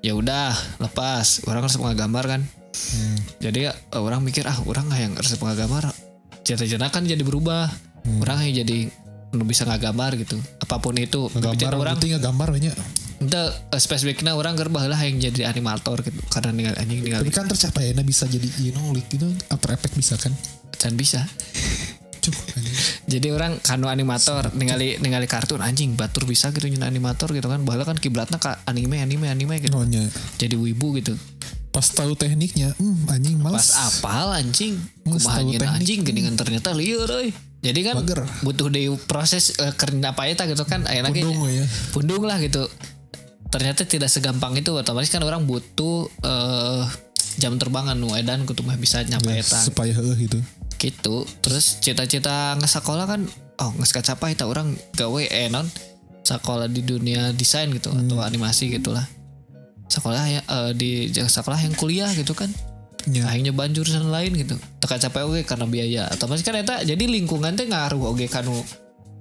Speaker 2: ya udah lepas orang harus gambar kan
Speaker 3: Hmm.
Speaker 2: jadi eh, orang mikir ah orang nggak yang harus gambar cita-cita kan jadi berubah
Speaker 3: Hmm.
Speaker 2: orang yang jadi nu bisa ngagambar gitu apapun itu Cita-cita
Speaker 3: gambar
Speaker 2: orang
Speaker 3: orang penting gambar we nya
Speaker 2: itu spesifiknya orang gerbah lah yang jadi animator gitu karena ninggal anjing ninggal
Speaker 3: tapi kan tercapai enak bisa jadi you know like gitu after effect bisa kan
Speaker 2: can bisa
Speaker 3: Cuk, anjing.
Speaker 2: jadi orang kanu animator ningali ningali kartun anjing batur bisa gitu nyen animator gitu kan bahkan kan kiblatnya ke anime anime anime gitu
Speaker 3: Oh, nya.
Speaker 2: jadi wibu gitu
Speaker 3: pas tahu tekniknya hmm, anjing
Speaker 2: pas
Speaker 3: males
Speaker 2: apal anjing
Speaker 3: Mas,
Speaker 2: kumaha
Speaker 3: tahu
Speaker 2: nyeun
Speaker 3: teknik.
Speaker 2: anjing geningan ternyata liur euy jadi kan
Speaker 3: Mager.
Speaker 2: butuh di proses eh, kerja apa eta gitu kan ayeuna ge
Speaker 3: Pundung we ya
Speaker 2: pundung lah gitu ternyata tidak segampang itu otomatis kan orang butuh eh, jam terbangan nu edan kudu mah bisa nyampe
Speaker 3: Ya,
Speaker 2: eta
Speaker 3: supaya heeh gitu
Speaker 2: gitu terus cita-cita ngesakola kan oh nges kacapai tak orang gawe eh non sekolah di dunia desain gitu atau animasi gitulah sekolah ya eh, di sekolah yang kuliah gitu kan
Speaker 3: Ya.
Speaker 2: akhirnya ban jurusan lain gitu teka capek oke karena biaya otomatis kan eta jadi lingkungan teh ngaruh oke kanu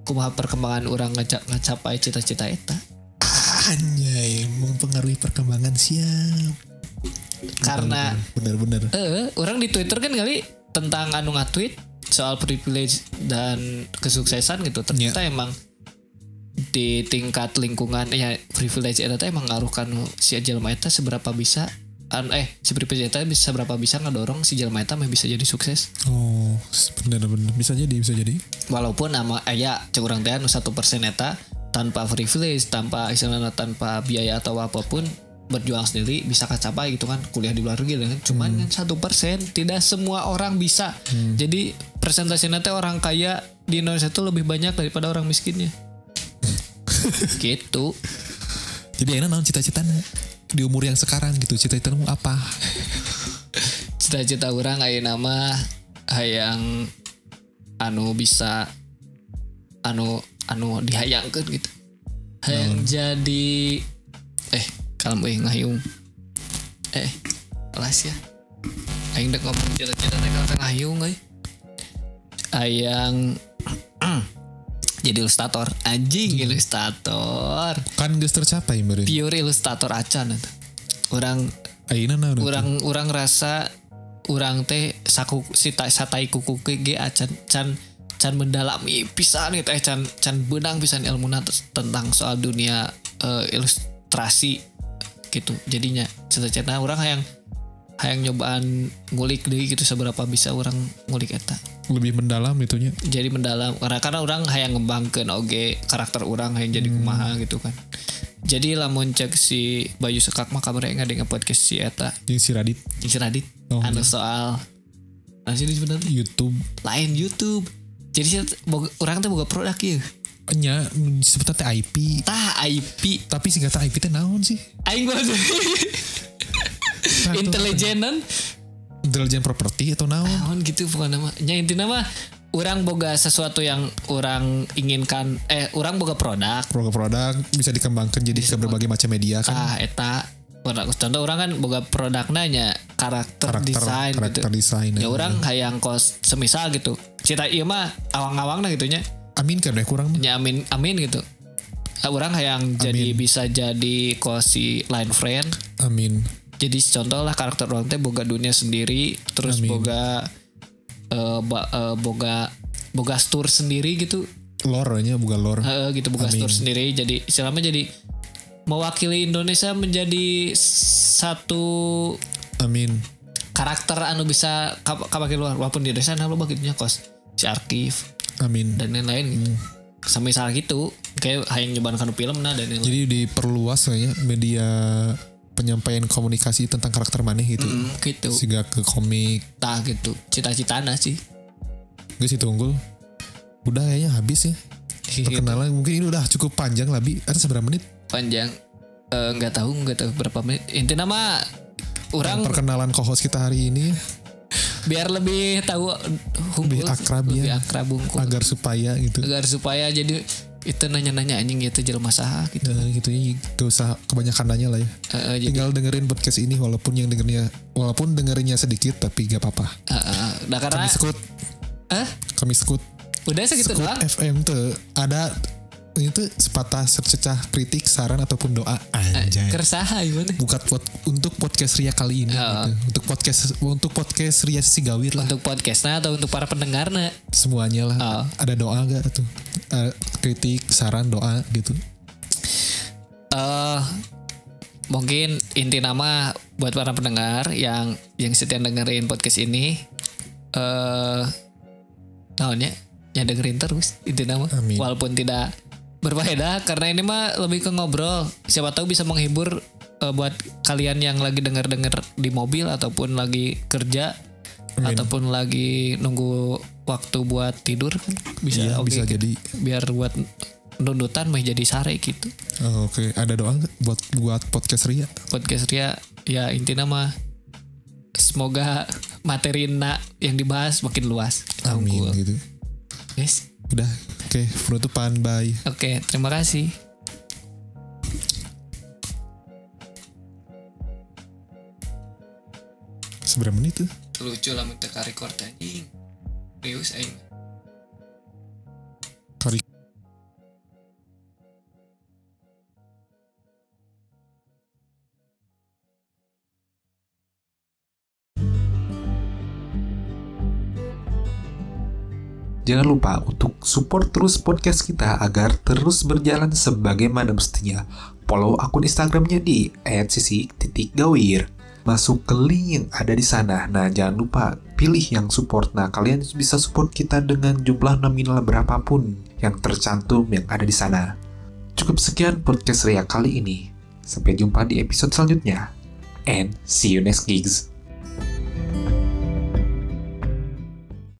Speaker 2: kumaha perkembangan orang ngajak ngacapai cita-cita eta
Speaker 3: Anjay, mempengaruhi perkembangan siap.
Speaker 2: karena
Speaker 3: Bener-bener.
Speaker 2: eh orang di Twitter kan kali tentang anu nge-tweet soal privilege dan kesuksesan gitu ternyata emang di tingkat lingkungan ya privilege eta teh emang ngaruh kanu si jelma eta seberapa bisa an, eh si privilege eta bisa seberapa bisa ngedorong si jelma eta mah bisa jadi sukses
Speaker 3: Oh, bener-bener. Bisa jadi, bisa jadi.
Speaker 2: walaupun ama aya cek urang teh anu 1% eta tanpa privilege tanpa istilahnya tanpa biaya atau apapun berjuang sendiri bisa kacapai gitu kan kuliah di luar negeri kan cuman kan satu persen tidak semua orang bisa jadi presentasinya teh orang kaya di Indonesia itu lebih banyak daripada orang miskinnya gitu
Speaker 3: Jadi enak naon cita-citanya di umur yang sekarang gitu cita-citamu apa?
Speaker 2: cita-cita orang aya nama hayang anu bisa anu anu dihayangkan gitu hayang jadi eh kalem euy ngayung eh alas ya aing dek ngomong cita-cita teh kalem ngayung euy hayang jadi ilustrator anjing ilustrator
Speaker 3: kan geus tercapai meureun
Speaker 2: pure ilustrator acan eta. orang
Speaker 3: ayeuna naon eta?
Speaker 2: orang orang rasa orang teh saku si ta- satai kuku ge acan can can mendalami pisan gitu eh can can benang pisan ilmu tentang soal dunia eh, ilustrasi gitu jadinya cita-cita orang hayang hayang nyobaan ngulik deui gitu seberapa bisa orang ngulik eta
Speaker 3: lebih mendalam itunya
Speaker 2: jadi mendalam karena karena orang hayang ngembangkeun oge karakter orang hayang jadi kumaha gitu kan jadi lamun cek si Bayu Sekak mah kamari ngadenge podcast si eta
Speaker 3: yang si Radit
Speaker 2: Jeung si Radit
Speaker 3: Oh,
Speaker 2: anu soal nah sini sebenarnya
Speaker 3: YouTube
Speaker 2: lain YouTube jadi si- boga- orang teh boga produk ieu
Speaker 3: nya disebutna teh IP
Speaker 2: tah IP
Speaker 3: tapi singkatan IP teh naon sih
Speaker 2: aing banget
Speaker 3: Nah, itu
Speaker 2: intelijenan
Speaker 3: intelligent property atau naon
Speaker 2: naon gitu bukan nama nya intinya mah orang boga sesuatu yang orang inginkan eh orang boga produk
Speaker 3: produk-produk bisa dikembangkan jadi ke berbagai macam media kan
Speaker 2: ah eta produk contoh orang kan boga produk nanya karakter,
Speaker 3: karakter
Speaker 2: desain
Speaker 3: karakter
Speaker 2: gitu
Speaker 3: desain iya.
Speaker 2: ya orang hayang kos semisal gitu cita iya mah awang-awang gitu nya
Speaker 3: amin kan ya kurang mah.
Speaker 2: ya amin amin gitu Ah, orang hayang jadi bisa jadi kosi line friend
Speaker 3: amin
Speaker 2: jadi contoh lah karakter orang teh boga dunia sendiri terus
Speaker 3: Amin.
Speaker 2: boga eh, ba- eh, boga boga tour sendiri gitu
Speaker 3: lore-nya bukan lore
Speaker 2: Heeh, gitu buka
Speaker 3: Amin.
Speaker 2: store sendiri jadi istilahnya jadi mewakili Indonesia menjadi satu
Speaker 3: amin
Speaker 2: karakter anu bisa kap kapake luar walaupun di Indonesia nah lo bagitunya kos si arkif
Speaker 3: amin
Speaker 2: dan lain-lain
Speaker 3: Hmm.
Speaker 2: gitu. sama misal gitu kayak hayang nyobaan kanu film nah dan lain-lain
Speaker 3: jadi diperluas kayaknya media penyampaian komunikasi tentang karakter maneh gitu
Speaker 2: Mm, gitu
Speaker 3: sehingga ke komik
Speaker 2: tah gitu cita-citana sih
Speaker 3: guys itu unggul udah kayaknya habis ya perkenalan mungkin ini udah cukup panjang lah bi ada seberapa menit
Speaker 2: panjang Eh, nggak tahu nggak tahu berapa menit intinya mah orang
Speaker 3: perkenalan co-host kita hari ini ya,
Speaker 2: biar lebih tahu
Speaker 3: Lebih akrab ya.
Speaker 2: lebih akrab hungkul.
Speaker 3: agar supaya gitu
Speaker 2: agar supaya jadi itu nanya-nanya anjing itu jelma saha gitu.
Speaker 3: Nah, gitu ya gak usah kebanyakan nanya lah ya
Speaker 2: Heeh, jadi
Speaker 3: tinggal dengerin podcast ini walaupun yang dengernya walaupun dengerinnya sedikit tapi gak apa-apa
Speaker 2: heeh, heeh. Nah, karena
Speaker 3: kami sekut
Speaker 2: Hah?
Speaker 3: kami sekut
Speaker 2: udah segitu
Speaker 3: Sekut
Speaker 2: doang.
Speaker 3: FM tuh ada itu sepatah sececah kritik saran ataupun doa anjay
Speaker 2: Kersaha gimana?
Speaker 3: bukan pod- untuk podcast Ria kali ini
Speaker 2: Oh.
Speaker 3: gitu. untuk podcast untuk podcast Ria Sigawir lah
Speaker 2: Untuk podcastnya atau untuk para pendengarnya?
Speaker 3: semuanya lah
Speaker 2: Oh.
Speaker 3: ada doa gak tuh Eh, kritik saran doa gitu
Speaker 2: Eh mungkin inti nama buat para pendengar yang yang setia dengerin podcast ini eh naonnya ya dengerin terus inti nama
Speaker 3: Amin.
Speaker 2: walaupun tidak berfaedah karena ini mah lebih ke ngobrol siapa tahu bisa menghibur eh, buat kalian yang lagi denger-denger di mobil ataupun lagi kerja
Speaker 3: Amin.
Speaker 2: ataupun lagi nunggu waktu buat tidur kan bisa
Speaker 3: Iya,
Speaker 2: oke
Speaker 3: bisa
Speaker 2: gitu.
Speaker 3: jadi
Speaker 2: biar buat nundutan mah jadi sare gitu
Speaker 3: Oh, oke ada doa nggak buat buat podcast Ria
Speaker 2: podcast Ria ya intinya mah semoga materi na yang dibahas makin luas.
Speaker 3: amin
Speaker 2: Unggul.
Speaker 3: gitu
Speaker 2: Guys,
Speaker 3: udah oke penutupan bye
Speaker 2: oke terima kasih.
Speaker 3: seberapa menit tuh
Speaker 2: Lucu lah minta record anjing. Rius aing.
Speaker 3: Kari-
Speaker 1: Jangan lupa untuk support terus podcast kita agar terus berjalan sebagaimana mestinya. Follow akun Instagramnya di @sisi_gawir. Masuk ke link yang ada di sana. Nah, jangan lupa pilih yang support. Nah, kalian bisa support kita dengan jumlah nominal berapapun yang tercantum yang ada di sana. Cukup sekian podcast Ria kali ini. Sampai jumpa di episode selanjutnya. And see you next gigs.